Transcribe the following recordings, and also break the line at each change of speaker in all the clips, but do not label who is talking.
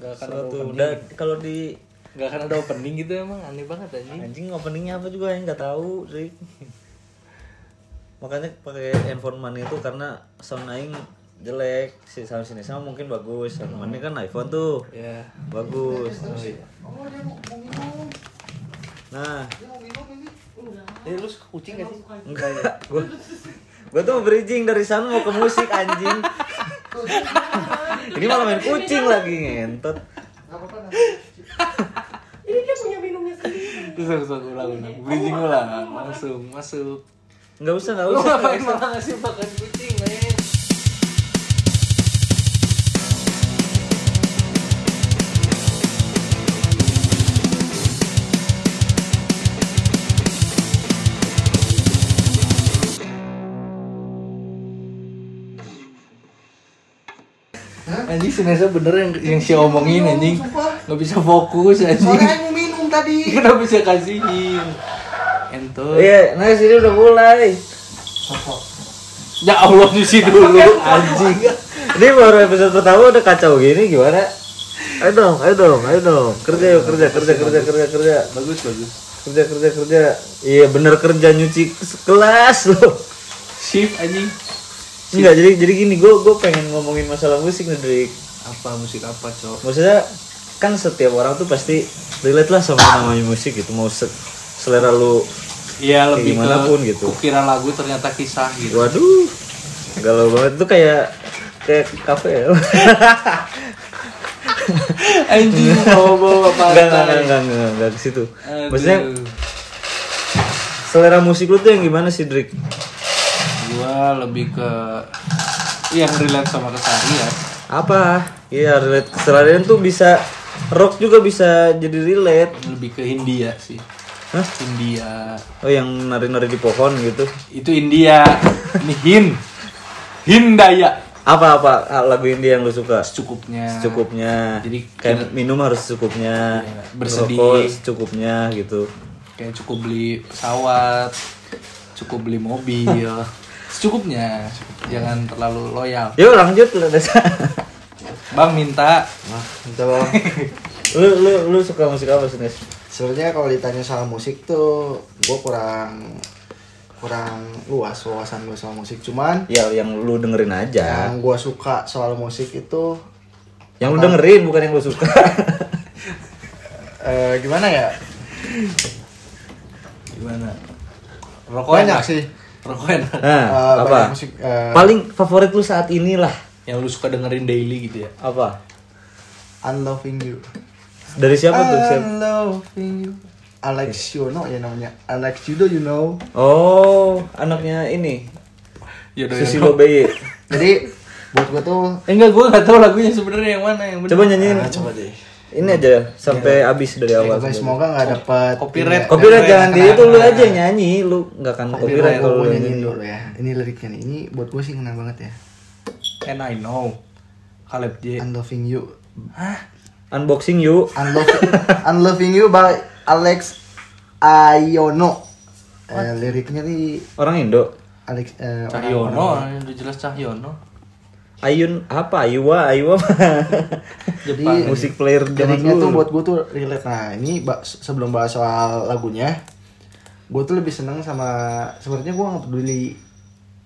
Gak akan ada
Selalu
opening.
udah kalau di
Gak akan ada opening gitu emang aneh banget anjing.
anjing openingnya apa juga yang nggak tahu sih makanya pakai handphone money itu karena sound aing jelek si sound sini sama mungkin bagus sound money kan iPhone tuh
Ya.
bagus
iya.
Oh dia mau, mau minum,
nah
dia mau minum ini.
Jadi lu suka kucing gak sih?
enggak gua gua tuh mau bridging dari sound mau ke musik anjing
Tuh, dia minum.
ini malah main kucing lagi ngentot
Gak apa-apa. gak apa-apa.
Ini dia punya minumnya sendiri.
Terus terus terus, ulang ulang. Bridging ulang. Langsung masuk.
nggak usah nggak
Lu
usah
ngapain malah ngasih makan kucing, men? Anjing si Nesa bener yang, yang si omongin anjing
Sumpah.
Gak bisa fokus
Soalnya
Eh,
anjing
yang mau minum tadi.
Kenapa bisa kasihin Entot
iya nah sini udah mulai
Ya Allah nyusi dulu anjing.
ini baru episode pertama udah kacau gini gimana ayo dong ayo dong ayo dong kerja yuk kerja kerja kerja kerja kerja
Bagus bagus.
kerja kerja kerja iya bener kerja nyuci kelas loh
Shift anjing.
enggak jadi jadi gini gue gue pengen ngomongin masalah musik nih Drik
Apa musik apa, Cok?
maksudnya kan setiap orang tuh pasti relate lah sama yang namanya musik gitu mau se- selera lu
Iya lebih
lebih gimana
ke
pun gitu.
Kukira lagu ternyata kisah gitu.
waduh galau banget tuh kayak kayak kafe ya
anjing bawa bawa apa?
enggak enggak enggak enggak enggak enggak ke situ maksudnya selera musik lu tuh yang gimana sih Drik
gua lebih ke yang relate sama ya. keseharian.
apa iya relate keseharian tuh bisa rock juga bisa jadi relate
Lebih ke India sih.
Hah?
India.
oh yang nari-nari di pohon gitu
Itu India. Ini Hin. Hindaya.
apa apa lagu indie yang lu suka
Secukupnya.
secukupnya
Jadi
kayak minum harus secukupnya
Iya, bersedih.
merokok secukupnya gitu
kayak cukup beli pesawat, cukup beli mobil, secukupnya, jangan terlalu loyal.
yuk lanjut lu Desa.
Bang minta
Gitu loh.
lu lu lu suka musik apa sih Nes?
Sebenarnya kalau ditanya soal musik tuh gue kurang kurang luas wawasan gue soal musik. Cuman
ya yang lu dengerin aja
yang gue suka soal musik itu
yang lu dengerin bukan yang lu suka
eh, gimana ya?
gimana? Rokok
Banyak
enak.
sih.
Rokok enak.
nah
Eh,
apa
banyak musik, eh,
paling favorit lu saat inilah
Yang lu suka dengerin daily gitu ya.
apa
Unloving You.
dari siapa
Ah.
tuh siapa?
Unloving You. Alex Yono ya namanya. Alex Yudo you know.
Oh, anaknya ini.
Jodoh
Susilo BY.
Jadi buat gue tuh
Eh, enggak, gue gak tau lagunya sebenarnya yang mana yang bener.
Coba nyanyiin.
Ah, coba deh. Iya.
Ini aja sampai habis dari awal.
Coba semoga nggak dapet
Copyright.
Ini ya.
Copyright jangan di
Nah,
itu lu
nah,
aja yang nyanyi, lu nggak akan
Copyright
copyright kalau
gue
lu
nyanyiin
nyanyi.
dulu ya. Ini liriknya nih. Ini buat gue sih ngena banget ya.
And I know. Caleb J.
Unloving You
Unboxing yuk.
Unloving, Unloving You by Alex Ayono. Eh, liriknya nih
Orang Indo.
Alex eh, orang-
Cahyono, udah jelas Cahyono.
Ayun apa? Ayuwa, Ayuwa.
Jadi
Musik player zaman
liriknya tuh
dulu.
buat gue tuh relate. Nah ini ba- sebelum bahas soal lagunya, gue tuh lebih seneng sama sebenarnya gue nggak peduli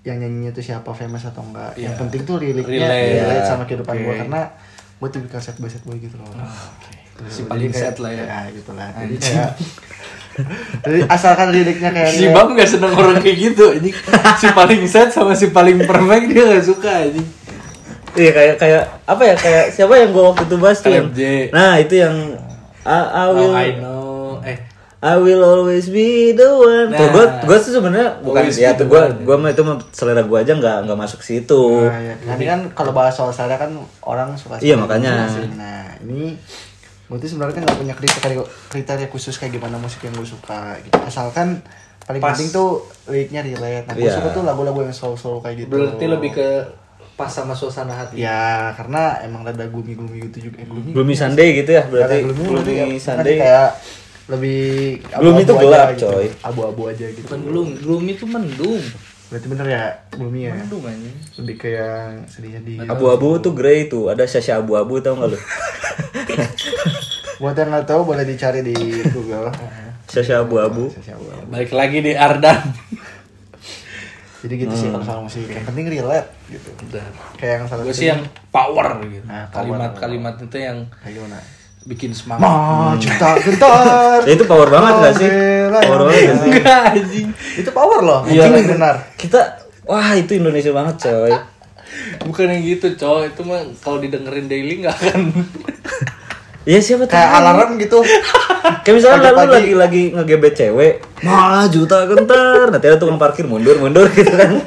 yang nyanyinya tuh siapa famous atau enggak. Yang
Iya.
penting tuh liriknya
Relate.
relate, sama kehidupan
Oke. Ah,
gue karena gue tipikal set by set boy gitu loh.
Si paling set lah ya.
gitu lah. Jadi kayak Jadi asalkan liriknya kayak
Si
relate.
Bam gak seneng orang kayak gitu anjing. Si paling set sama si paling perfect dia gak suka anjing.
Iya kayak kayak apa ya? Kayak siapa yang gua waktu itu bahas tuh? yang-
Caleb J.
Nah, itu yang I, I
ya.
Oh,
will
I know. Eh,
I will always be the one. Tuh
Nah.
gue gue tuh sebenarnya bukan
Always
ya
be
tuh
the
gue
one.
gue mah itu mah selera gue aja nggak nggak masuk situ.
Nah, ya. Nanti kan kalau bahas soal selera kan orang suka
Iya,
selera
makanya.
masing-masing. Nah ini gue tuh sebenarnya kan nggak punya kriteria kriteria khusus kayak gimana musik yang gue suka gitu. Asalkan paling
Pas.
penting tuh liriknya relate. Nah gue
Iya.
suka tuh lagu-lagu yang slow-slow kayak gitu.
berarti lebih ke pas sama suasana hati.
Ya karena emang ada gumi-gumi gitu juga. Eh, gloomy.
Gloomy Sunday gitu ya berarti
Ada gloomy, tapi ya,
Gloomy Sunday.
kayak lebih
Gloomy
abu-abu
tuh
aja
gelap,
gitu.
coy.
Abu-abu aja gitu.
Bukan belum, belum itu mendung.
Berarti bener ya gloomy ya.
Mendung anjing.
Lebih kayak sedih-sedih. gitu.
Abu-abu tuh grey tuh ada Sasha abu-abu tau nggak lu?
Buat yang nggak tahu boleh dicari di Google.
Sasha abu-abu.
Sasha Abu.
Balik lagi di Ardan.
Jadi gitu sih kalau soal musik. Yang penting relate gitu.
Udah.
Kayak yang salah
Gue sih yang power gitu.
Nah, power.
Kalimat-kalimat itu yang
Kayak gimana?
bikin semangat.
Ma, cinta gentar.
Ya, itu power Hmm. banget gak sih?
Bela yang
Power banget gak sih?
Enggak anjing.
Itu power loh.
Iya.
Mungkin benar.
Kita wah itu Indonesia banget coy.
Bukan yang gitu, coy. Itu mah kalau didengerin daily nggak akan.
Iya siapa tahu.
Kayak alarm gitu.
Kayak misalnya lalu
Pagi-pagi.
lagi lagi ngegebet cewek, wah juta gentar. Nanti ada tukang parkir mundur mundur gitu kan.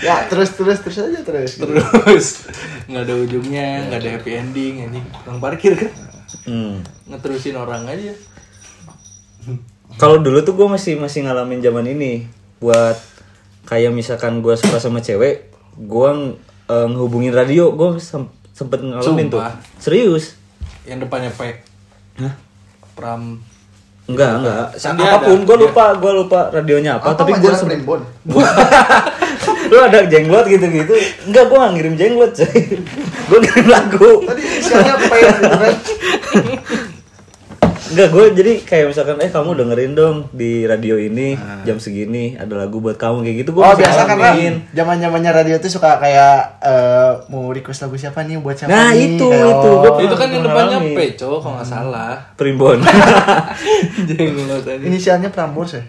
Ya, terus terus terus aja terus.
Terus nggak ada ujungnya, nggak ada happy ending anjing. Orang parkir kan
Hmm.
ngeterusin orang aja.
Kalau dulu tuh gue masih masih ngalamin zaman ini buat kayak misalkan gue suka sama cewek, gue ngehubungin radio, gue sempet ngalamin
Sumpah.
tuh. Serius?
Yang depannya P.
Hah?
Pram.
Enggak, enggak.
Kan dia
Apapun
ada-
gue lupa, gue lupa
Gitu.
radionya apa, Oh, tapi gue sempet
primbon.
lu ada jenglot gitu-gitu enggak gua nggak ngirim jenglot cuy gua ngirim lagu
Tadi isinya apa ya? gitu kan?
enggak gua jadi kayak misalkan eh kamu dengerin dong di radio ini
Ah.
jam segini ada lagu buat kamu kayak gitu
Oh
gua masih
kan,
biasa karena
ngalamin.
zaman zamannya radio tuh suka kayak eh, mau request lagu siapa nih buat siapa
Nah,
nih.
itu,
Kayak,
itu.
oh, Hmm.
itu kan yang depannya
ngalamin.
P, coy, kalau nggak salah.
primbon
Jenglot tadi.
Inisialnya Prambors ya.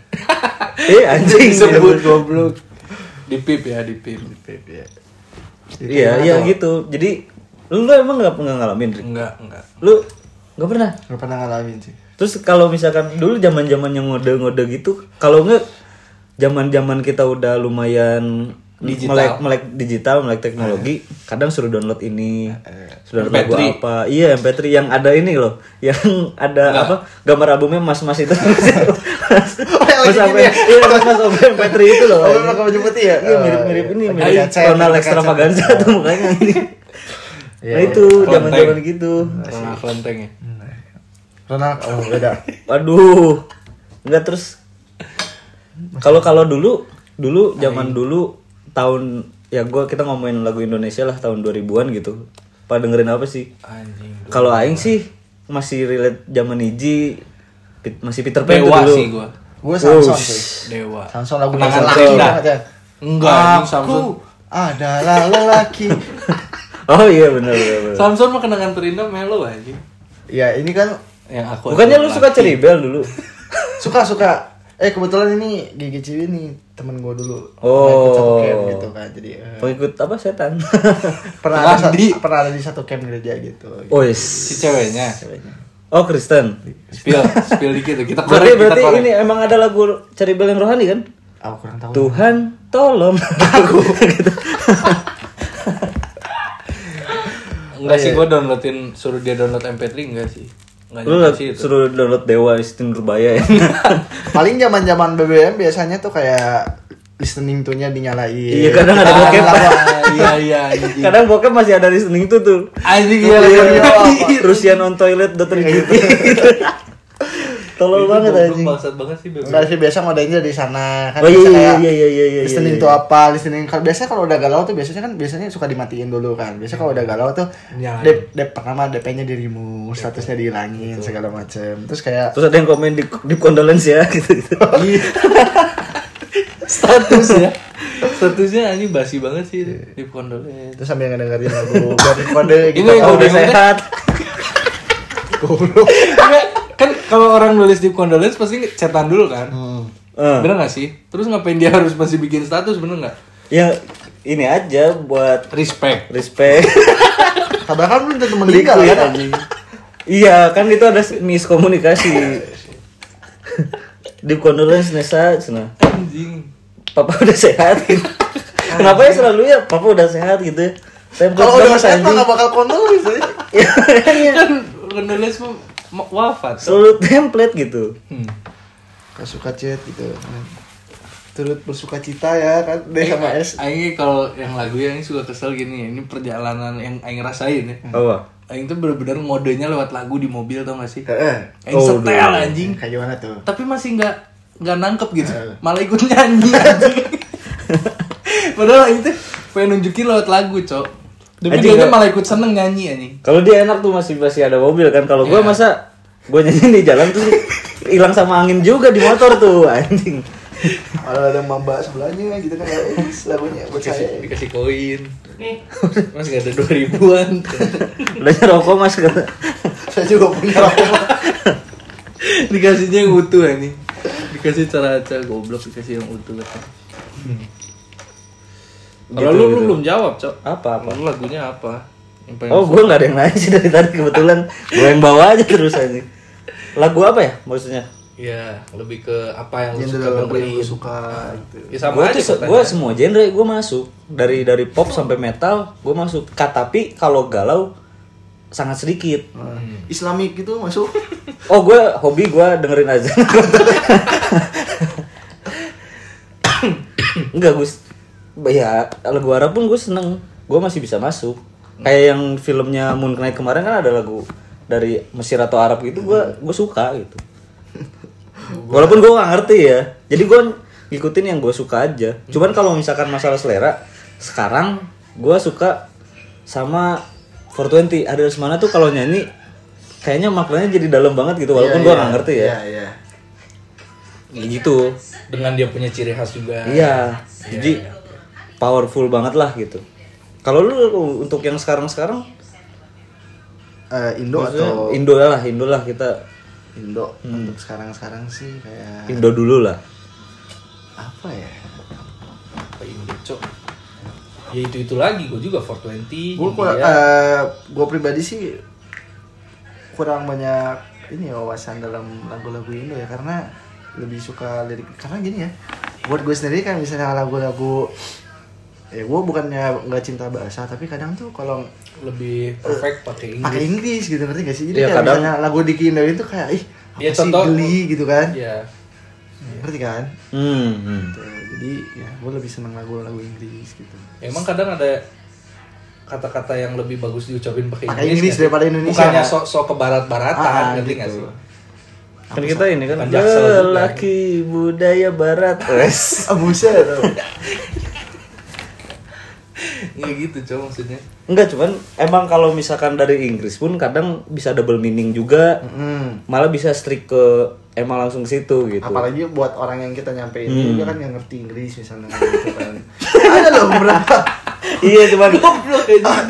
eh anjing
disebut goblok. Di pip ya, di pip.
iya iya gitu jadi lu nggak emang nggak nggak ngalamin Drik?
Enggak, enggak.
lu nggak pernah
Gak pernah ngalamin sih.
Terus kalau misalkan dulu zaman zamannya ngode-ngode gitu, kalau nggak zaman-zaman kita udah lumayan
Digital.
melek melek digital, melek teknologi, kadang suruh download ini, suruh download lagu
MP3.
apa. Iya, MP3 yang ada ini loh, yang ada apa? Gambar albumnya mas-mas itu. mas
yang
mas
lagi
apa?
gini ya?
Iya, mas-mas OB MP3 itu loh.
Oh, memang kamu jemput ya?
Iya, mirip-mirip ini,
Pakai
mirip
headset,
Ronald
pakai
extravaganza tuh mukanya ini.
Iya,
Nah
iya.
itu zaman-zaman
Konten.
gitu.
Pernah kelenteng ya.
Hmm.
Nah, iya.
Ronald, oh beda.
Waduh. Enggak terus kalau kalau dulu dulu zaman dulu tahun ya gua kita ngomongin lagu Indonesia lah tahun 2000-an gitu. Pada dengerin apa sih?
Anjing.
Kalau aing sih masih relate zaman Iji Pit- masih Peter Pan tuh
Dewa
dulu.
sih gua.
Gue Samson sih.
Dewa.
Samson lagunya
Kenangan
Samson.
laki dah.
Ingat ya?
Enggak, anjing, Samson.
Aku adalah lelaki.
Oh iya benar benar. benar.
Samson mah kenangan terindah melo anjing.
ya ini kan
Yang aku
Bukannya lu
adalah
suka Ceribel dulu?
suka suka. Eh kebetulan ini Gigi Ciwi nih temen gue dulu.
Oh.
Pernah ikut Satu camp gitu kan. Jadi eh,
Pengikut apa setan?
pernah ada sa-
Randi.
pernah ada di satu camp gereja gitu.
oh,
si ceweknya.
oh Kristen.
Spill, spill dikit tuh. Kita
Berarti
korek, kita
berarti
korek.
ini emang ada lagu Ceribel yang rohani kan?
Aku kurang tahu.
Tuhan tolong aku gitu.
Enggak sih gua downloadin suruh dia download MP3 enggak sih. Enggak
Iya. Lu
nyampe
lah-
sih itu.
suruh download Dewa Siti Nurbaya ya.
Paling zaman zaman BBM biasanya tuh kayak listening tune-nya dinyalain.
Iya, kadang ada
Ah,
bokep. Kan-
lawan. Iya iya anjing.
Kadang bokep masih ada listening itu tuh.
Anjing iya
Iya,
iya.
iya.
Rusian on toilet dot gitu. Tolol banget anjing.
Bangsat banget sih bebek.
Enggak sih biasa modelnya dari sana kan
Oh iya
bisa
iya
kayak
iya iya iya iya.
listening
iya.
to apa listening kalau biasanya kalau udah galau tuh biasanya kan biasanya suka dimatiin dulu kan biasanya kalau udah galau tuh
Nyalain.
dep dep pertama dp-nya dirimu statusnya dihilangin segala macem terus kayak
Terus ada yang komen di di condolence ya gitu. gitu.
Status ya. Statusnya anjing basi banget sih itu.
Iya.
di kondolen.
terus sambil ngedengerin lagu dari kode gitu
Ini
Kalau
kalau
udah
bingung deh.
sehat.
goblok
Enggak, kan kalau orang nulis di condolence pasti cetan dulu kan
Eh.
bener gak sih terus ngapain dia harus masih bikin status bener nggak
Ya ini aja buat
respect
respect.
kabar kan belum tentu meninggal
Liquid,
kan
anjing. iya, kan itu ada miskomunikasi. Di condolence Nesa, sana.
anjing
Papa udah sehat. gitu. Kenapa ya selalu ya Papa udah sehat gitu. Template
kalau udah
banget,
sehat mah
anjing.
nggak bakal gitu ya? kondol sih
Iya, makanya.
kan condolence mah ma- wafat
selalu template gitu.
Hmm.
Gak suka chat gitu turut bersuka cita ya kan D sama S
Eh, Aing kalau yang lagu yang suka kesel gini ya. ini perjalanan yang Aing rasain ya
Hmm.
Apa?
Aing tuh bener-bener modenya lewat lagu di mobil tau gak sih
Heeh.
Aing
Oh,
setel
aduh.
anjing
kayak gimana tuh
tapi masih nggak nggak nangkep gitu malah ikut nyanyi anjing. padahal itu pengen nunjukin lewat lagu cok Demi
Anjing,
dia
gua-
malah ikut seneng nyanyi anjing.
Kalau dia enak tuh masih masih ada mobil kan. Kalau
Iya.
gua masa gua nyanyi di jalan tuh hilang sama angin juga di motor tuh anjing.
Malah ada mamba sebelahnya gitu kan guys, lagunya buat
Dikasih,
saya.
dikasih koin.
Nih,
Mas gak ada 2000-an.
Belanja rokok mas kata.
Saya juga punya rokok.
Dikasihnya yang utuh anjing. Dikasih cara-cara goblok dikasih yang utuh katanya. Hmm. Kalau
Gitu,
lu, lu
gitu.
belum jawab, Cok.
Apa apa?
Lu lagunya apa? Yang paling
Oh gua nggak ada yang nanya sih dari tadi kebetulan gua yang bawa aja terus anjing. Lagu apa ya maksudnya?
Iya, lebih ke apa yang lu suka
Genre lagu yang
dengerin.
gue suka gitu.
Ya sama
Gua
aja
tuh se-
pertanyaan.
gua semua genre gua masuk dari dari pop sampai metal gua masuk. Ka- Tapi kalau galau sangat sedikit.
Nah, Islamik gitu masuk.
Oh gue hobi gue dengerin aja. Enggak Gus. Ya lagu Arab pun gue seneng. Gue masih bisa masuk. Kayak yang filmnya Moon Knight kemarin kan ada lagu dari Mesir atau Arab gitu gue
Hmm.
gue suka gitu. Walaupun gue gak ngerti ya. Jadi gue ngikutin yang gue suka aja. Cuman kalau misalkan masalah selera, sekarang gue suka sama 420. Ada semana tuh kalau nyanyi kayaknya maknanya jadi dalam banget gitu. Walaupun gue gak ngerti ya.
Iya, iya.
Ya gitu.
dengan dia punya ciri khas juga.
Iya. Jadi powerful banget lah gitu. Kalau lu untuk yang sekarang-sekarang
Eh, Indo
maksudnya
atau
Indo lah, Indo lah kita
Indo untuk sekarang-sekarang sih kayak
Indo dulu lah.
apa ya?
Apa ini, Cok? Ya itu itu lagi gue juga Iya. 420.
Gue
India.
gue eh, pribadi sih kurang banyak ini ya, wawasan dalam lagu-lagu Indo ya karena lebih suka lirik karena gini ya buat gue sendiri kan misalnya lagu-lagu ya gue bukannya nggak cinta bahasa tapi kadang tuh kalau
lebih perfect pakai
pakai
Inggris.
Inggris gitu ngerti gak sih jadi
Iya,
kayak
kadang-
misalnya lagu di Indo itu kayak ih apa
Iya,
sih
contoh-
geli gitu kan
Iya.
ngerti kan
Hmm, hmm.
Tuh, jadi ya gue lebih seneng lagu-lagu Inggris gitu
Emang kadang ada kata-kata yang lebih bagus diucapin pakai
Pakai Inggris
nggak sih?
daripada Indonesia.
Bukannya sok sok ke barat-baratan,
Ah,
ngerti
gitu.
nggak sih?
Kan kita ini kan
Kan Jaksel juga.
lelaki budaya barat. Wes.
ah buset
Iya gitu, Cok, maksudnya.
Enggak cuman emang kalau misalkan dari Inggris pun kadang bisa double meaning juga.
Hmm.
Malah bisa strict ke emang langsung ke situ gitu.
apalagi buat orang yang kita nyampein juga kan yang ngerti Inggris misalnya gitu kan ada loh beberapa
iya cuman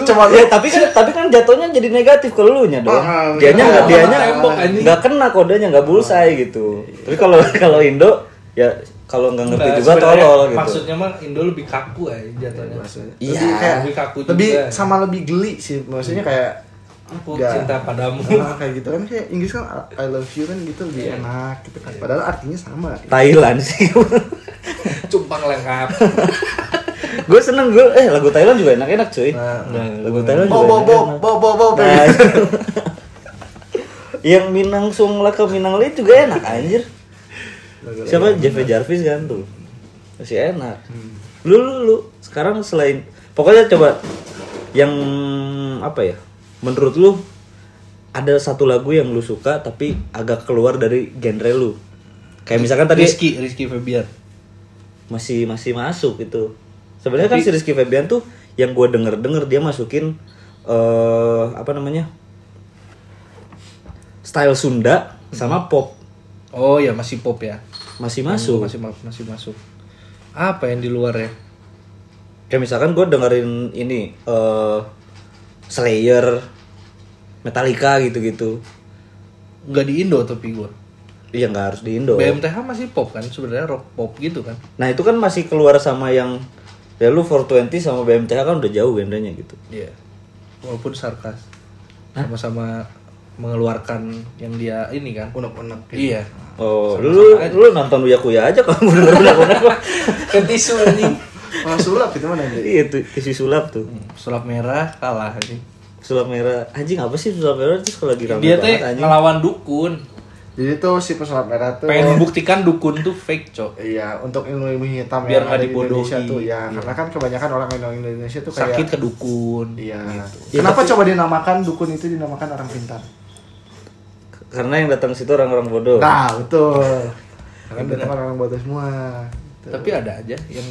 cuma
ya tapi kan tapi kan jatuhnya jadi negatif ke lu nya dong.
Ah,
dianya
iya.
enggak dianya
Kena tembok, anjing.
enggak kena kodenya enggak bullseye gitu. Tapi kalau kalau Indo ya kalau nggak ngerti
Nggak,
juga
Nah, sebenarnya
tolol gitu.
Maksudnya mah Indo lebih kaku aja jatuhnya.
Iya.
lebih kayak
Lebih kaku juga.
lebih sama lebih geli sih maksudnya kayak
Aku
Nggak.
cinta padamu.
ah, kayak gitu kan kayak Inggris kan I love you kan gitu lebih enak gitu kan padahal artinya sama
Thailand sih.
Cumpang lengkap.
gue seneng gue eh lagu Thailand juga enak-enak cuy.
Nah,
lagu Thailand
bo
Kan juga.
bo bo
enak-enak.
bo bo bo bo.
Nah, yang Minang Sungla ke Minang Lit juga enak anjir. Siapa Jeff Jarvis kan tuh. Masih enak. Lu lu lu sekarang selain pokoknya coba yang apa ya? Menurut lu ada satu lagu yang lu suka tapi agak keluar dari genre lu. Kayak misalkan tadi
Rizky, Rizky Febian.
masih masih masuk itu. Sebenarnya kan si Rizky Febian tuh yang gua denger-denger dia masukin eh apa namanya? style Sunda sama pop
Oh ya masih pop ya.
masih masuk.
Masih ma- masih masuk. Apa yang di luar ya?
Kayak misalkan gue dengerin ini eh Slayer, Metallica gitu-gitu.
Nggak di Indo tapi gua.
Iya nggak harus di Indo.
BMTH masih pop kan sebenarnya rock pop gitu kan.
Nah itu kan masih keluar sama yang ya lu 420 sama BMTH kan udah jauh gendernya gitu.
Iya. Walaupun sarkas. Sama-sama mengeluarkan yang dia ini kan.
unek-unek
Iya.
Oh, lu lu nonton Uya Kuya aja kalau mau denger bener-bener. Kan
Ketisu anjing.
Wah, sulap gitu mana Indri?
Iya tuh isi sulap tuh.
Hmm. Sulap merah kalah anjing.
Sulap merah. Anjing apa sih sulap merah terus kalau lagi rame
Dia tuh
banget anjing.
ngelawan dukun.
jadi tuh si pesulap merah tuh
Pengen membuktikan dukun tuh fake, Cok.
Iya, untuk ilmu-ilmu hitam
Biar
yang
nggak
ada di
dibodohi.
Indonesia tuh ya, karena kan kebanyakan orang orang Indonesia tuh kayak
Sakit kan? ke dukun.
Iya. Kenapa coba dinamakan dukun itu dinamakan orang pintar?
Karena yang datang situ orang-orang bodoh.
Nah, betul. Kan orang orang bodoh semua. Gitu.
Tapi ada aja yang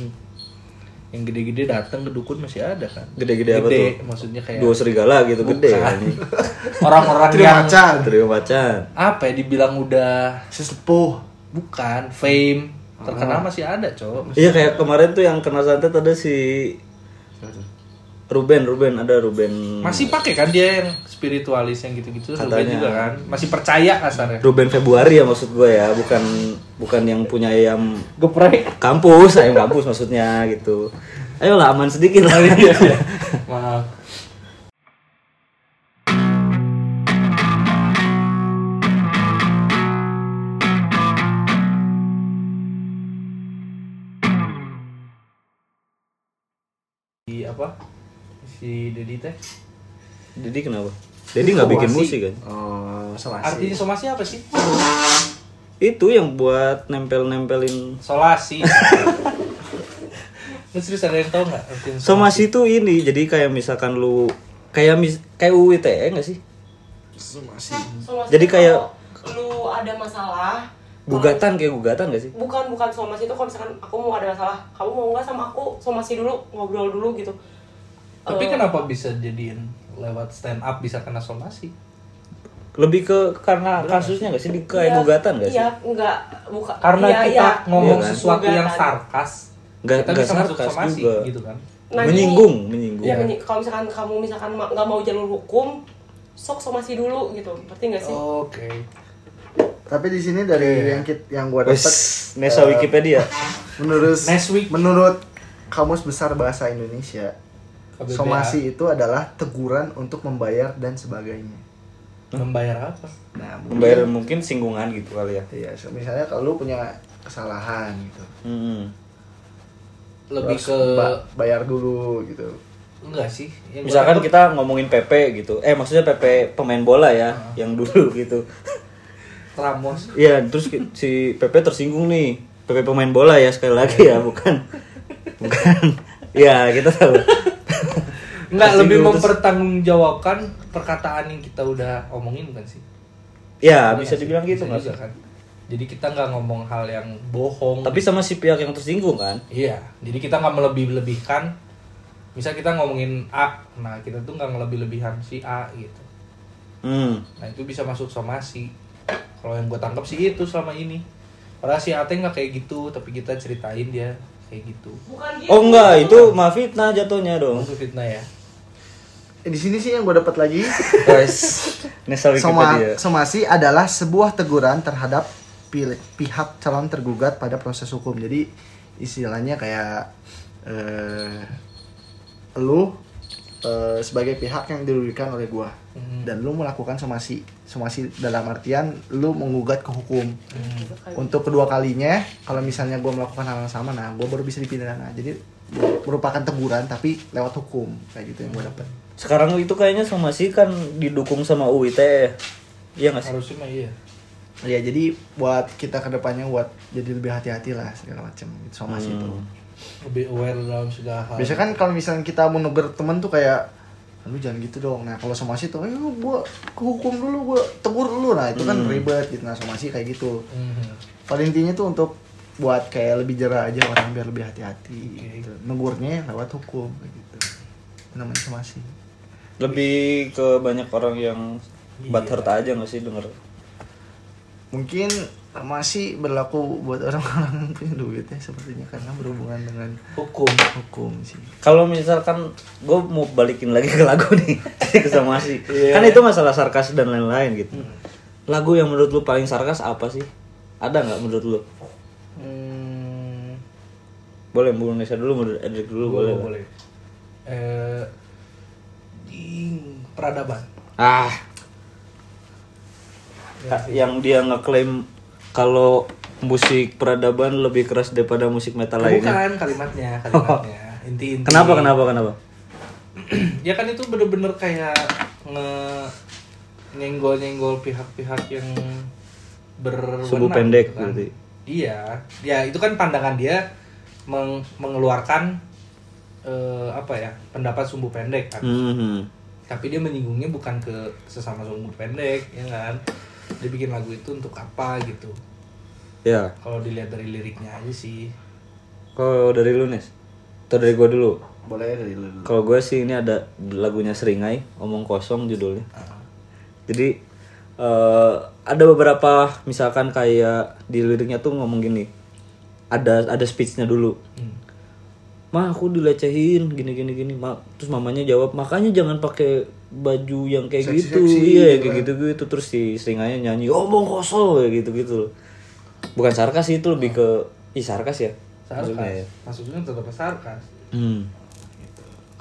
yang gede-gede datang ke dukun masih ada kan
Gede-gede apa
Gede,
tuh?
maksudnya kayak
Dua serigala gitu gede.
iya. Bukan.
anjing.
orang-orang yang
macan
Trio macan.
apa ya dibilang udah
si sepuh
bukan fame
Ah.
terkenal masih ada cowok
Iya kayak kemarin tuh yang kena santet ada si Ruben, Ruben ada Ruben.
masih pakai kan dia yang spiritualis yang gitu-gitu Ruben
Katanya.
juga kan masih percaya kasarnya
Ruben Februari ya maksud gue ya, bukan bukan yang punya ayam
geprek
kampus, ayam kampus maksudnya gitu. Ayolah aman sedikit lah.
maaf si apa si Dedi teh
Jadi kenapa? Dedi nggak bikin
Informasi.
musik kan?
oh somasi
artinya somasi apa sih
Itu yang buat nempel-nempelin
solasi lu serius ada yang tau nggak artinya
somasi itu ini. Jadi kayak misalkan lu kayak mis, kayak UITE E nggak sih?
somasi
Hah, somasi
Jadi kayak-
kalau lu ada masalah
Gugatan kayak gugatan nggak sih?
bukan bukan somasi itu kalau misalkan aku mau ada masalah kamu mau nggak sama aku somasi dulu ngobrol dulu gitu
tapi
Eh,
kenapa bisa jadiin lewat stand up bisa kena somasi
Lebih ke karena kasusnya nggak sih? Di, kayak
iya,
gugatan nggak sih?
iya enggak bukan
karena
iya,
kita
iya.
ngomong
Iya kan?
sesuatu yang
Gugatan.
sarkas
Nggak
kita
nggak
bisa masuk
sarkas
somasi
juga.
gitu kan
Nah,
menyinggung,
jadi-
menyinggung.
Iya, menyi- kalau misalkan kamu misalkan ma- nggak mau jalur hukum sok somasi dulu gitu ngerti nggak
Oh.
sih
oke
tapi di sini dari
Iya.
yang kit yang gua
Wes,
dapet eh,
eh,
Nesa
iya.
Wikipedia.
menurut
Next week.
menurut kamus besar bahasa Indonesia
KBBA.
somasi itu adalah teguran untuk membayar dan sebagainya
membayar apa
nah
Membayar mungkin singgungan gitu kali ya.
ya misalnya kalau lu punya kesalahan gitu
Hmm.
lebih
Terus
ke
ba- bayar dulu gitu
enggak sih Yang gua
Misalkan
tangkep-
kita ngomongin PP gitu. Eh maksudnya PP pemain bola ya,
Ah.
yang dulu gitu.
Ramos
Iya, terus ki- si PP tersinggung nih. PP pemain bola ya sekali lagi ya,
Iya.
bukan. Bukan. Ya, kita tahu.
enggak
Tersinggung,
lebih
terus-
mempertanggungjawabkan perkataan yang kita udah omongin bukan sih
Ya,
Iya
bisa
nggak
dibilang
sih?
gitu
Bisa
Mas.
juga kan jadi kita nggak ngomong hal yang bohong
Tapi sama si pihak yang tersinggung kan?
Iya, jadi kita nggak melebih-lebihkan. Misal kita ngomongin A, nah kita tuh nggak melebih-lebihan si A gitu.
Hmm.
Nah itu bisa masuk somasi. Kalau yang gue tangkap sih itu selama ini. Padahal si A teh nggak kayak gitu, tapi kita ceritain dia kayak gitu.
bukan gitu
Oh enggak, itu mah fitnah jatuhnya dong.
Itu fitnah ya.
Eh, di sini sih yang gua dapat lagi
Guys, Nesa
Soma,
Wikipedia.
somasi adalah sebuah teguran terhadap pil- pihak calon tergugat pada proses hukum. Jadi istilahnya kayak eh, lu eh, sebagai pihak yang dirugikan oleh gua
Mhm.
dan lu melakukan somasi. Somasi dalam artian lu menggugat ke hukum. Untuk kedua kalinya kalau misalnya gua melakukan hal yang sama nah gua baru bisa dipidana. Jadi merupakan teguran tapi lewat hukum kayak gitu yang gua dapat.
Sekarang itu kayaknya somasi kan didukung sama UIT ya. Iya nggak sih?
Harusnya mah iya.
Ya jadi buat kita kedepannya buat jadi lebih hati-hati lah segala macam gitu sama sih itu.
Lebih aware dalam segala hal.
Biasanya kan kalau misalnya kita mau negur temen tuh kayak lu jangan gitu dong. Nah, kalau somasi tuh ayo gua ke hukum dulu, gua tegur dulu. Nah, itu kan ribet gitu nah somasi kayak gitu.
Mhm.
Pada intinya tuh untuk buat kayak lebih jera aja orang biar lebih hati-hati gitu. Negurnya lewat hukum kayak gitu. Itu Namanya somasi.
Lebih ke banyak orang yang butthurt aja nggak sih denger?
Mungkin somasi berlaku buat orang-orang yang punya duit ya sepertinya karena berhubungan dengan
Hukum.
hukum sih.
Kalau misalkan gue mau balikin lagi ke lagu nih ke somasi, kan itu masalah sarkas dan lain-lain gitu. Lagu yang menurut lu paling sarkas apa sih? Ada nggak menurut lu?
Hmm,
Boleh Bu Nesa dulu, menurut Edric dulu boleh.
boleh.
lah.
boleh. Eh, ding, peradaban.
Ah, Ka- Ya, yang dia ngeklaim kalau musik peradaban lebih keras daripada musik metal lainnya.
Bukan kalimatnya, kalimatnya. Inti-inti.
Kenapa? Kenapa? Kenapa?
ya kan itu bener-bener kayak nge nyenggol-nyenggol pihak-pihak yang berwenang.
Sumbu pendek
gitu
berarti.
Iya, ya itu kan pandangan dia meng- mengeluarkan eh, apa ya pendapat sumbu pendek kan.
Mhm.
Tapi dia menyinggungnya bukan ke sesama sumbu pendek, ya kan? Dia bikin lagu itu untuk apa gitu?
Ya.
Kalau dilihat dari liriknya aja sih.
Kalau dari lu Nes? Atau dari gue dulu.
Boleh dari lu dulu.
Kalau gue sih ini ada lagunya Seringai, Omong Kosong judulnya. Jadi eh, ada beberapa misalkan kayak di liriknya tuh ngomong gini. Ada ada speechnya dulu.
Hmm.
Ma aku dilecehin gini gini gini. Ma terus mamanya jawab makanya jangan pakai baju yang kayak gitu. iya
kan.
kayak gitu gitu terus si Seringainya nyanyi omong kosong kayak gitu gitu. Bukan sarkas sih, itu lebih ke ih sarkas ya. Maksudnya ya.
Sarkas. Maksudnya tetap sarkas.
Hmm.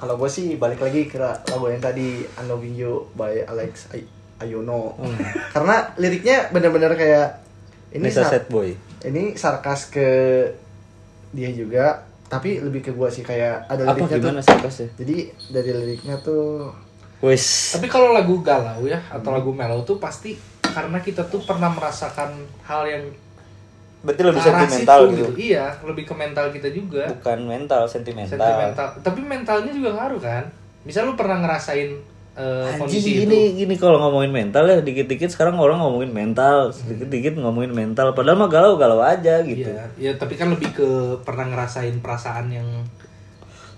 Kalau gue sih balik lagi ke lagu yang tadi Unloving You by Alex Ay- Ayono.
Hmm.
Karena liriknya bener-bener kayak ini
Nessa
sar-
Sad Boy.
ini sarkas ke dia juga, tapi lebih ke gue sih kayak ada
Apa
liriknya
gimana
tuh.
sarkas ya?
Jadi dari liriknya tuh
Wes.
Tapi kalau lagu galau ya
Hmm.
atau lagu mellow tuh pasti karena kita tuh pernah merasakan hal yang
Berarti lebih
ke arah
sentimental
situ
gitu.
Iya, lebih ke mental kita juga.
Bukan mental, sentimental.
Sentimental. Tapi mentalnya juga ngaruh kan? Misal lu pernah ngerasain eh,
Anjing
kondisi
gini
itu.
gini kalau ngomongin mental ya dikit-dikit sekarang orang ngomongin mental, sedikit-dikit ngomongin mental padahal mah galau-galau aja gitu.
Iya, ya tapi kan lebih ke pernah ngerasain perasaan yang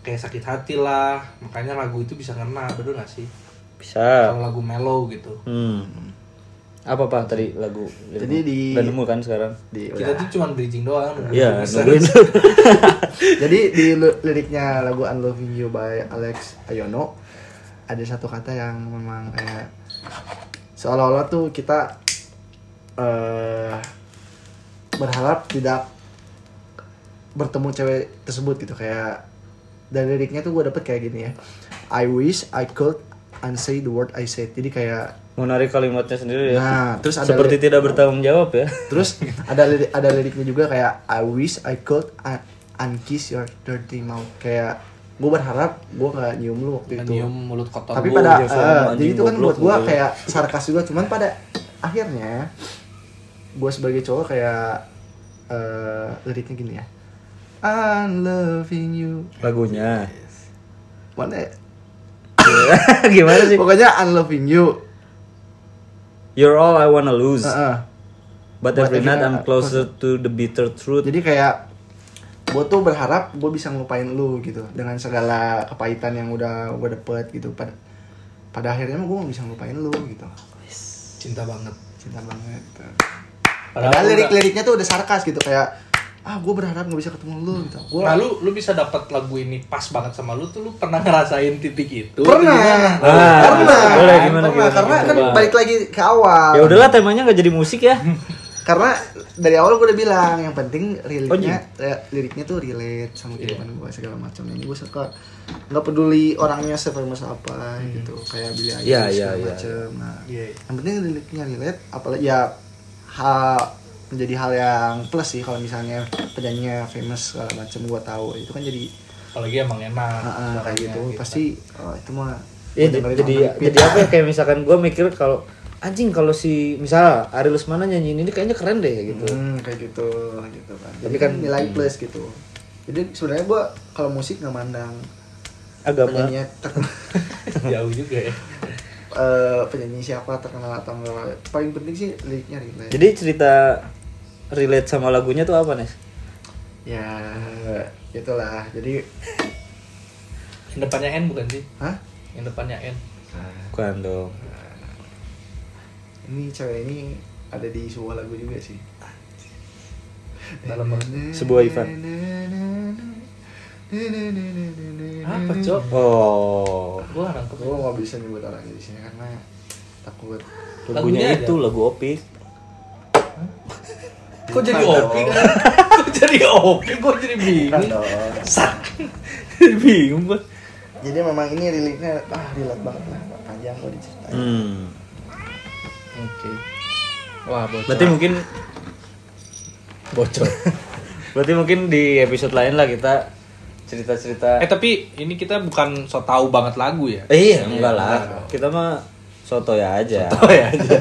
kayak sakit hati lah. Makanya lagu itu bisa ngena, bener gak sih?
Bisa.
Kalau lagu mellow gitu.
Hmm. Apa pak tadi lagu?
Jadi di-
Udah nemu kan sekarang?
di
Kita tuh cuma bridging doang.
Iya,
Bisa.
nungguin.
Jadi di lu- liriknya lagu Unloving You by Alex Ayono ada satu kata yang memang kayak seolah-olah tuh kita eh berharap tidak bertemu cewek tersebut gitu kayak dan liriknya tuh gue dapet kayak gini ya I wish I could unsay the word I said jadi kayak
Mau narik kalimatnya sendiri ya.
nah terus ada
Seperti tidak bertanggung jawab ya.
Terus ada lirik, ada liriknya juga kayak I wish I could un- unkiss your dirty mouth. Kayak gue berharap gue nggak nyium lu waktu itu.
Nyium mulut kotor
Tapi
gua.
pada
Jeff,
eh,
anjing
jadi itu
goblok
kan
gitu.
buat gue
lu.
kayak sarkas juga. Cuman pada akhirnya gue sebagai cowok kayak eh, liriknya gini ya. I'm loving you.
Lagunya.
Mana? ya?
Gimana sih?
Pokoknya I'm loving you.
You're all I wanna lose.
Heeh.
Uh-uh. But
But
every
every
night
night
I'm
I-
closer to the bitter truth.
Jadi kayak gue tuh berharap gue bisa ngelupain lu gitu dengan segala kepahitan yang udah gue dapet gitu pada pada akhirnya gue gak bisa ngelupain lu gitu
cinta banget.
cinta banget gitu.
Padahal
Padahal
udah-
lirik-liriknya tuh udah sarkas gitu kayak ah gue berharap gak bisa ketemu lu gitu gue
Nah, lu lu bisa dapat lagu ini pas banget sama lu tuh lu pernah ngerasain titik itu?
Ah,
pernah pernah
boleh, gimana,
pernah
gimana,
karena
gimana,
kan
coba.
balik lagi ke awal
Ya udahlah temanya nggak jadi musik ya.
karena dari awal gue udah bilang yang penting
Oh, iya.
liriknya eh, liriknya tuh relate sama kehidupan gue segala macam ini gue suka nggak peduli orangnya sefamous apa gitu kayak Billy Eilish
Hmm. Iya, iya,
segala
iya.
macem. nah
Iya.
yang penting liriknya relate apalagi ya hal menjadi hal yang plus sih kalau misalnya penyanyinya famous segala macam gue tahu itu kan jadi
Apalagi emang enak. ya,
ah, ah, kayak gitu pasti oh, itu mah
Iya,
gua
jadi
dengerin
jadi,
orang repeat.
apa ya kayak misalkan gue mikir kalau anjing kalau si misal Ari Lesmana nyanyiin ini kayaknya keren deh gitu.
Hmm, kayak gitu gitu kan
Tapi
tapi
kan-
kan nilai plus gitu jadi sebenarnya gua kalau musik nggak mandang
Agama.
penyanyi terkenal
Jauh juga ya.
eh, penyanyi siapa terkenal atau enggak paling penting sih liriknya relate
Jadi cerita relate sama lagunya tuh apa nih?
ya itulah jadi
Yang depannya N bukan sih?
hah
Yang depannya N.
Ah.
Bukan dong.
ini cewek ini ada di sebuah lagu juga sih
Dalam
Sebuah event.
Apa,
Hmm.
Cok?
Oh,
Gua nangkep.
Gua nggak bisa nyebut orangnya di sini karena takut
lagunya,
Lagunya
itu
aja.
lagu opik.
Kok jadi
Bukan
OP
dong.
kan? Kok jadi OP? Gua jadi
Bukan
bingung.
dong.
Jadi bingung gua.
Jadi memang ini relate-nya ah relate banget lah panjang kalau diceritain.
Hmm.
Oke. Wah, bocor.
Berarti mungkin
bocor.
berarti mungkin di episode lain lah kita cerita-cerita.
eh, tapi ini kita bukan so tau banget lagu ya.
Eh, iya, enggak lah. Kita mah soto ya aja.
Tau ya aja.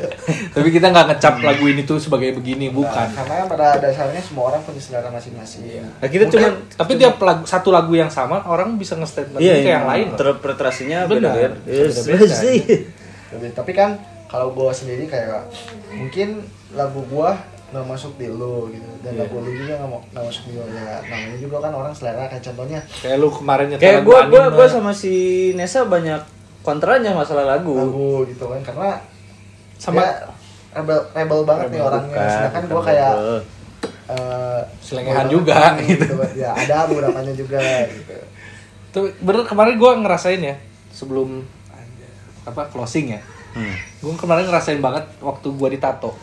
tapi kita nggak ngecap lagu ini tuh sebagai begini, bukan. Iya.
Karena pada dasarnya semua orang punya selera masing-masing.
Nah, kita
Mungkin-
cuman
tapi tiap lagu- satu lagu yang sama orang bisa nge-statement
Iya,
ke yang lain. loh.
Interpretasinya
Benar.
beda kan? Iya,
Bisa beda-beda.
sih.
Tapi- Tapi kan kalau gua sendiri kayak mungkin lagu gua nggak masuk di lo gitu dan
Iya.
lagu lu juga nggak mau- nggak masuk di lo ya namanya juga kan orang selera kayak contohnya
Kayak lu kemarin nyetel
Kayak
lagu
gue gue
anime.
gue sama si Nesa banyak kontranya masalah lagu.
lagu gitu kan karena
Sama-
dia rebel rebel banget nih orangnya sedangkan gue kayak eh,
Selengehan
boy
juga,
banget nih,
gitu.
kan. ya ada beberapanya juga gitu
Tapi bener kemarin gue ngerasain ya sebelum apa closing ya. Gue kemarin ngerasain banget waktu gue ditato.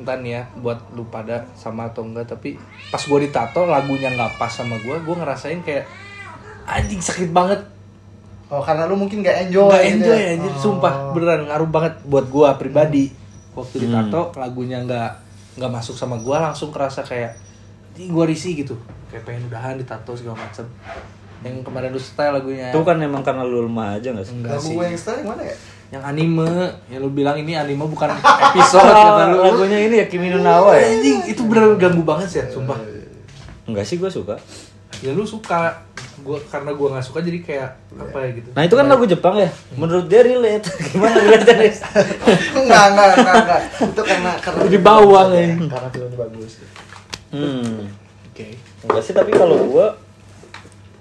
Entah nih ya buat lu pada sama atau enggak tapi pas gue ditato lagunya nggak pas sama gue, gue ngerasain kayak anjing sakit banget.
oh karena lu mungkin gak enjoy
Gak
gitu
enjoy
ya.
anjir,
Oh.
sumpah beneran ngaruh banget buat gue pribadi.
Hmm.
Waktu ditato lagunya nggak nggak masuk sama gue langsung kerasa kayak ini gue risih gitu kayak pengen udahan ditato segala macem yang kemarin lu style lagunya
Itu kan emang karena lu lemah aja gak sih?
Enggak
lagu
sih.
gue yang setelah yang mana ya
Yang anime, yang lu bilang ini anime bukan episode
Oh.
kata lu.
Oh,
lagunya ini ya Kimi no Nawa ya?
iya.
Anjing, itu beneran ganggu banget sih, sumpah.
Enggak sih gue suka.
Ya
iya.
lu suka gua karena gua nggak suka jadi kayak apa ya gitu.
Nah itu kan lagu Jepang ya? Menurut dia relate. Gimana relate Nes?
enggak enggak enggak enggak itu karena karena
Di bawah,
ya.
ya.
karena filmnya bagus
Hmm.
Oke.
Enggak sih tapi kalau gue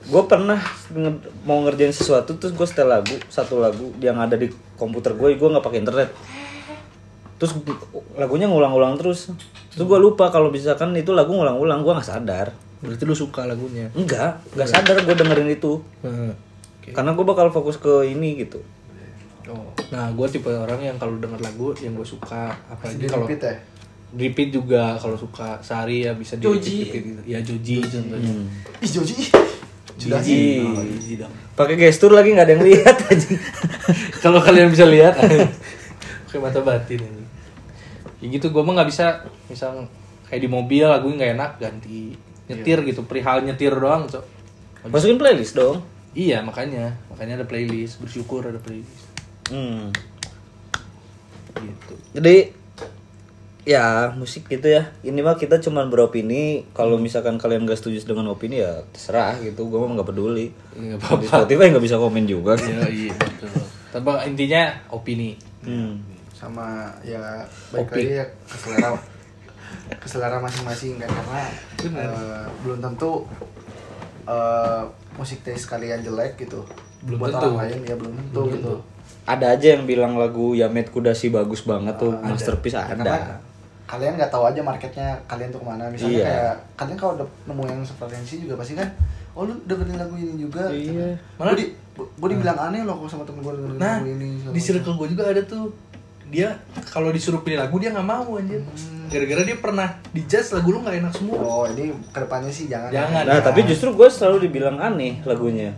gue pernah nge- mau ngerjain sesuatu terus gue setel lagu satu lagu yang ada di komputer gue gue nggak pakai internet terus gu- lagunya ngulang-ulang terus terus gue lupa kalau misalkan itu lagu ngulang-ulang gue nggak sadar
Berarti lu suka lagunya.
enggak
Iya.
nggak sadar gue dengerin itu
Hmm.
karena gue bakal fokus ke ini gitu
Oh. Nah, gua tipe orang yang kalau denger lagu yang gua suka apalagi
di
kalau
repeat ya
repeat juga kalau suka sehari ya bisa di
Joji.
repeat gitu. Ya Joji contohnya.
ih Joji ih. Sudah
Joji.
sih.
Oh, Joji dong.
pakai gestur lagi nggak ada yang lihat aja
kalau kalian bisa lihat kayak mata batin ini ya gitu gue mah nggak bisa misal kayak di mobil lagu nggak enak ganti nyetir gitu perihal nyetir doang cok
masukin playlist dong
iya makanya makanya ada playlist bersyukur ada playlist
hmm.
gitu
jadi ya musik gitu ya ini mah kita cuman beropini
Hmm.
kalau misalkan kalian gak setuju dengan opini ya terserah gitu gue mah nggak peduli
Iya, nggak
Di
apa-apa
Spotify nggak bisa komen juga
iya iya betul tapi intinya opini
hmm.
sama ya baik
Kopi.
lagi ya ke selera ke selera masing-masing kan karena eh, belum tentu eh, musik taste kalian jelek gitu
Belum
buat
tentu.
orang lain ya belum tentu gitu
ada aja yang bilang lagu Yamet Kudasi bagus banget tuh
Ah,
masterpiece ada,
karena kalian nggak tahu aja marketnya kalian tuh kemana misalnya
Iya.
kayak kalian kalau udah nemu yang preferensi juga pasti kan oh lu dengerin lagu ini juga gitu.
Iya.
Malah-
malah di gue dibilang aneh loh kalau sama temen gue dengerin
nah
lagu ini segala
di
macam.
circle gue juga ada tuh dia kalau disuruh pilih lagu dia nggak mau anjir gara-gara dia pernah di jazz lagu lu nggak enak semua
oh ini kedepannya sih jangan
Jangan.
nah tapi justru gue selalu dibilang aneh lagunya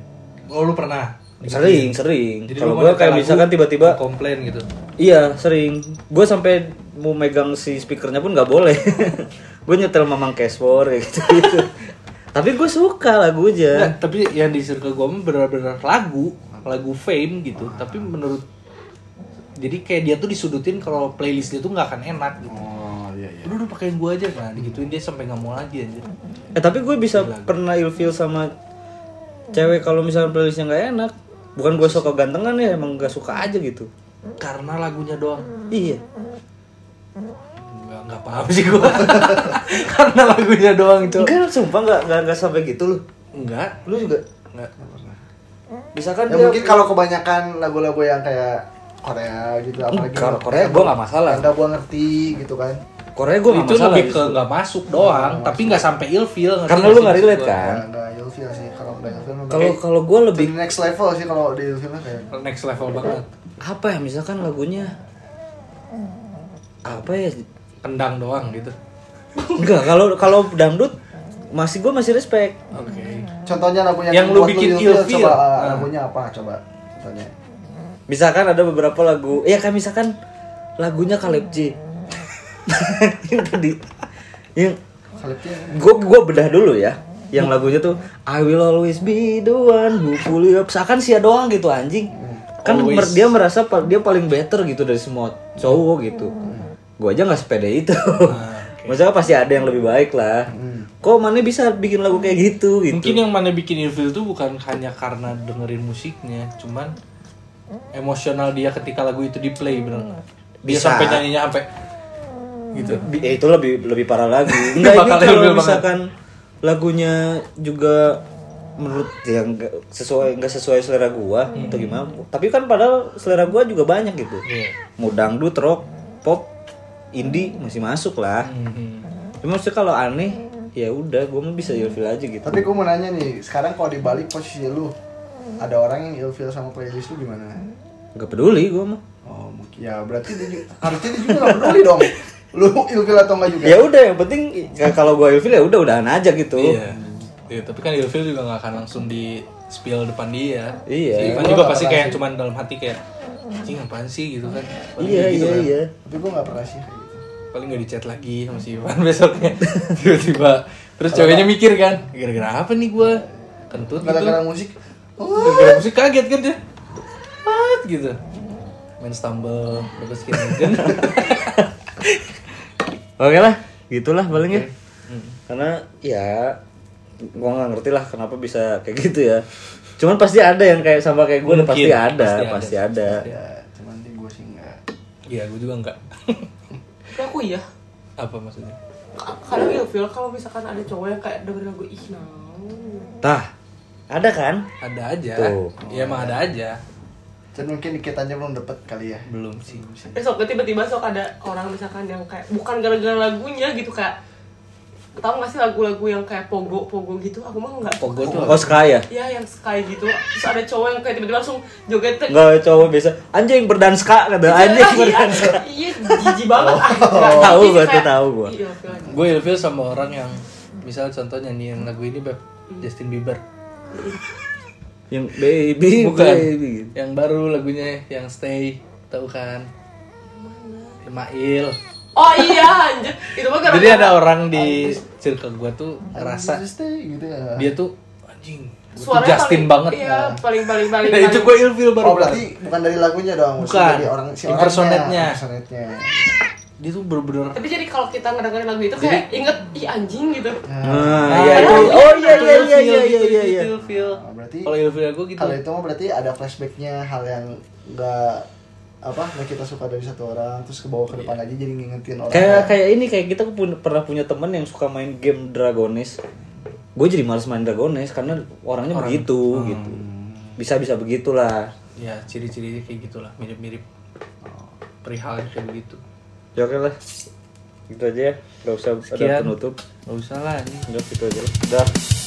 oh lu pernah
sering sering
Jadi
kalau
lu
gue
mau nyetel
kayak
lagu,
misalkan tiba-tiba
komplain gitu.
Iya sering. Gue sampai mau megang si speakernya pun nggak boleh. gue nyetel Mamang Cashmore kayak gitu. gitu. Tapi gue suka
Nah,
lagunya.
tapi yang di circle gue bener-bener lagu, lagu fame gitu. Tapi menurut jadi kayak dia tuh disudutin kalau playlist dia tuh nggak akan enak gitu.
oh iya iya
Udah udah pakein gue aja nah digituin dia sampai nggak mau lagi anjir.
Eh tapi gue bisa pernah ilfeel sama cewek kalau misalnya playlistnya nggak enak. Bukan gue suka gantengan ya emang gak suka aja gitu.
Karena lagunya doang.
Iya.
Nggak nggak paham sih gue. Karena lagunya doang cok.
Enggak sumpah nggak nggak nggak sampai gitu loh.
Enggak.
Lu juga.
Enggak.
Misalkan
ya
dia-
mungkin kalau kebanyakan lagu-lagu yang kayak Korea gitu apalagi
Hmm, kalau
yang-
Korea
yang
gua nggak masalah.
yang nggak gua ngerti gitu kan
Korea gue nggak
itu
masalah.
lebih ke
justru.
nggak masuk doang, tapi nggak sampai ilfeel. ngerti
Karena lu
sih
nggak
maksud
relate
gua?
kan.
nggak nggak ilfil sih kalau nggak ilfil memang
Kalau
kayak-
kalau gue lebih
the next level sih kalau di ilfilnya kayak
Next level banget.
apa ya misalkan lagunya apa ya
Kendang doang gitu.
enggak kalau kalau dangdut masih gue masih respect
Oke. Gitu.
contohnya lagunya
Yang lu
buat
bikin
ilfil,
ilfil.
coba ah,
Nah.
lagunya apa coba contohnya
misalkan ada beberapa lagu ya kayak misalkan lagunya Caleb J yang tadi yang
Kalipnya
gue gue bedah dulu ya yang lagunya tuh I will always be the one who pull you up seakan sia doang gitu anjing kan
Always.
mer- dia merasa pal- dia paling better gitu dari semua cowok gitu gue aja nggak sepede itu
Ah,
maksudnya pasti ada yang lebih baik lah kok mana bisa bikin lagu kayak gitu gitu
Hmm. Mungkin yang mana bikin ilfil tuh bukan hanya karena dengerin musiknya, cuman emosional dia ketika lagu itu di play bener nggak? Dia
Bisa.
sampai nyanyinya sampai
gitu. Eh, itu lebih lebih parah lagi. Enggak ini
Bakal
kalau
lebih banget.
misalkan lagunya juga menurut ya nggak sesuai nggak sesuai selera gua
Hmm.
atau gimana. Tapi kan padahal selera gua juga banyak gitu.
Iya.
Mau dangdut, rock, pop, indie masih masuk lah.
Hmm.
Cuma maksudnya kalau aneh ya udah gua mau bisa ilfil aja gitu.
Tapi gue mau nanya nih, sekarang kalau dibalik posisi lu, ada orang yang ilfeel sama playlist lu gimana?
Gak peduli gua mah.
Oh, mungkin- ya berarti dia juga, harusnya dia juga gak peduli dong. Lu ilfeel atau enggak juga?
Ya udah yang penting ya kalau gua ilfil ya udah udahan aja gitu.
Iya. Iya, tapi kan Ilfil juga gak akan langsung di spill depan dia.
Iya.
Si Ivan juga
Gua nggak
pasti
pernah
kayak
sih.
cuman dalam hati kayak anjing apaan sih gitu kan. Paling
Iya
kayak gitu
iya
kan.
iya.
Tapi gue gak pernah sih kayak gitu.
Paling gak dicat lagi sama si Ivan besoknya. Tiba-tiba terus ceweknya mikir kan, gara-gara apa nih gua? Kentut gitu.
Gara-gara musik,
Gara-gara musik kaget kan dia. What gitu. Main stumble, gitu. bagus skin legend.
Oke lah, gitulah paling ya. Karena ya gua nggak ngerti lah kenapa bisa kayak gitu ya. Cuman pasti ada yang kayak sama kayak gue
Mungkin.
pasti ada,
Pasti
pasti
ada.
ada.
ya cuman di gue sih enggak.
Iya, gua juga enggak.
Tapi aku iya.
apa maksudnya?
Ka- Kadang ilfil kalau misalkan ada cowok yang kayak dengerin lagu ih nah.
Tah, ada kan?
Ada aja.
Tuh.
Iya, emang ada aja.
Dan mungkin dikit aja belum dapet kali ya.
Belum sih.
Eh sok tiba-tiba sok ada orang misalkan yang kayak bukan gara-gara lagunya gitu kayak tau gak sih lagu-lagu yang kayak pogo pogo gitu aku mah nggak
Pogo tuh
Oh sekaya.
ya yang sky gitu terus ada cowok yang kayak tiba-tiba langsung joget
Enggak cowok biasa. Anjing berdanska kata anjing berdanska.
iya jijik banget
Oh,
ah.
Tahu
Jadi
gua tuh,
kayak, Iya,
tahu gua.
"Ih, ilfil aja."
gue ilfil sama orang yang misal contoh nyanyiin lagu ini beb Justin Bieber
Yang baby,
bukan
baby. gitu.
yang baru lagunya yang Stay tahu kan Mail
oh iya anjir itu mah gara-gara
jadi ada orang di circle gue tuh ngerasa
Just stay gitu ya.
dia tuh anjing gua tuh
Suaranya
Justin
paling-
banget
iya paling paling paling,
nah itu
paling-
gue ilfil baru
Oh berarti bukan dari lagunya dong, maksudnya
Bukan.
dari orang si orangnya,
Impersonate-nya.
impersonate-nya.
dia tuh
Ah,
bener-bener
tapi jadi kalau kita ngedengerin lagu itu kayak inget ih anjing gitu
Nah,
Ah,
iya,
itu-
iya. Oh iya iya iya
ilfil
iya
gitu,
iya
itu
iya.
ilfil.
Nah, berarti
kalau ilfil gue gitu
kalau itu mah berarti ada flashbacknya hal yang enggak apa nggak kita suka dari satu orang terus ke bawah ke depan lagi jadi ngingetin orang
Kayak kayak ini kayak kita pun pernah punya temen yang suka main game Dragones. Gue jadi males main Dragones karena orangnya begitu gitu. Bisa bisa begitulah.
ya ciri-ciri kayak gitulah mirip-mirip Oh, perihal kayak gitu. begitu
Ya oke lah. Gitu aja ya. Gak usah
Sekian.
ada penutup.
nggak usah lah anjing
Udah gitu aja lah. Dah.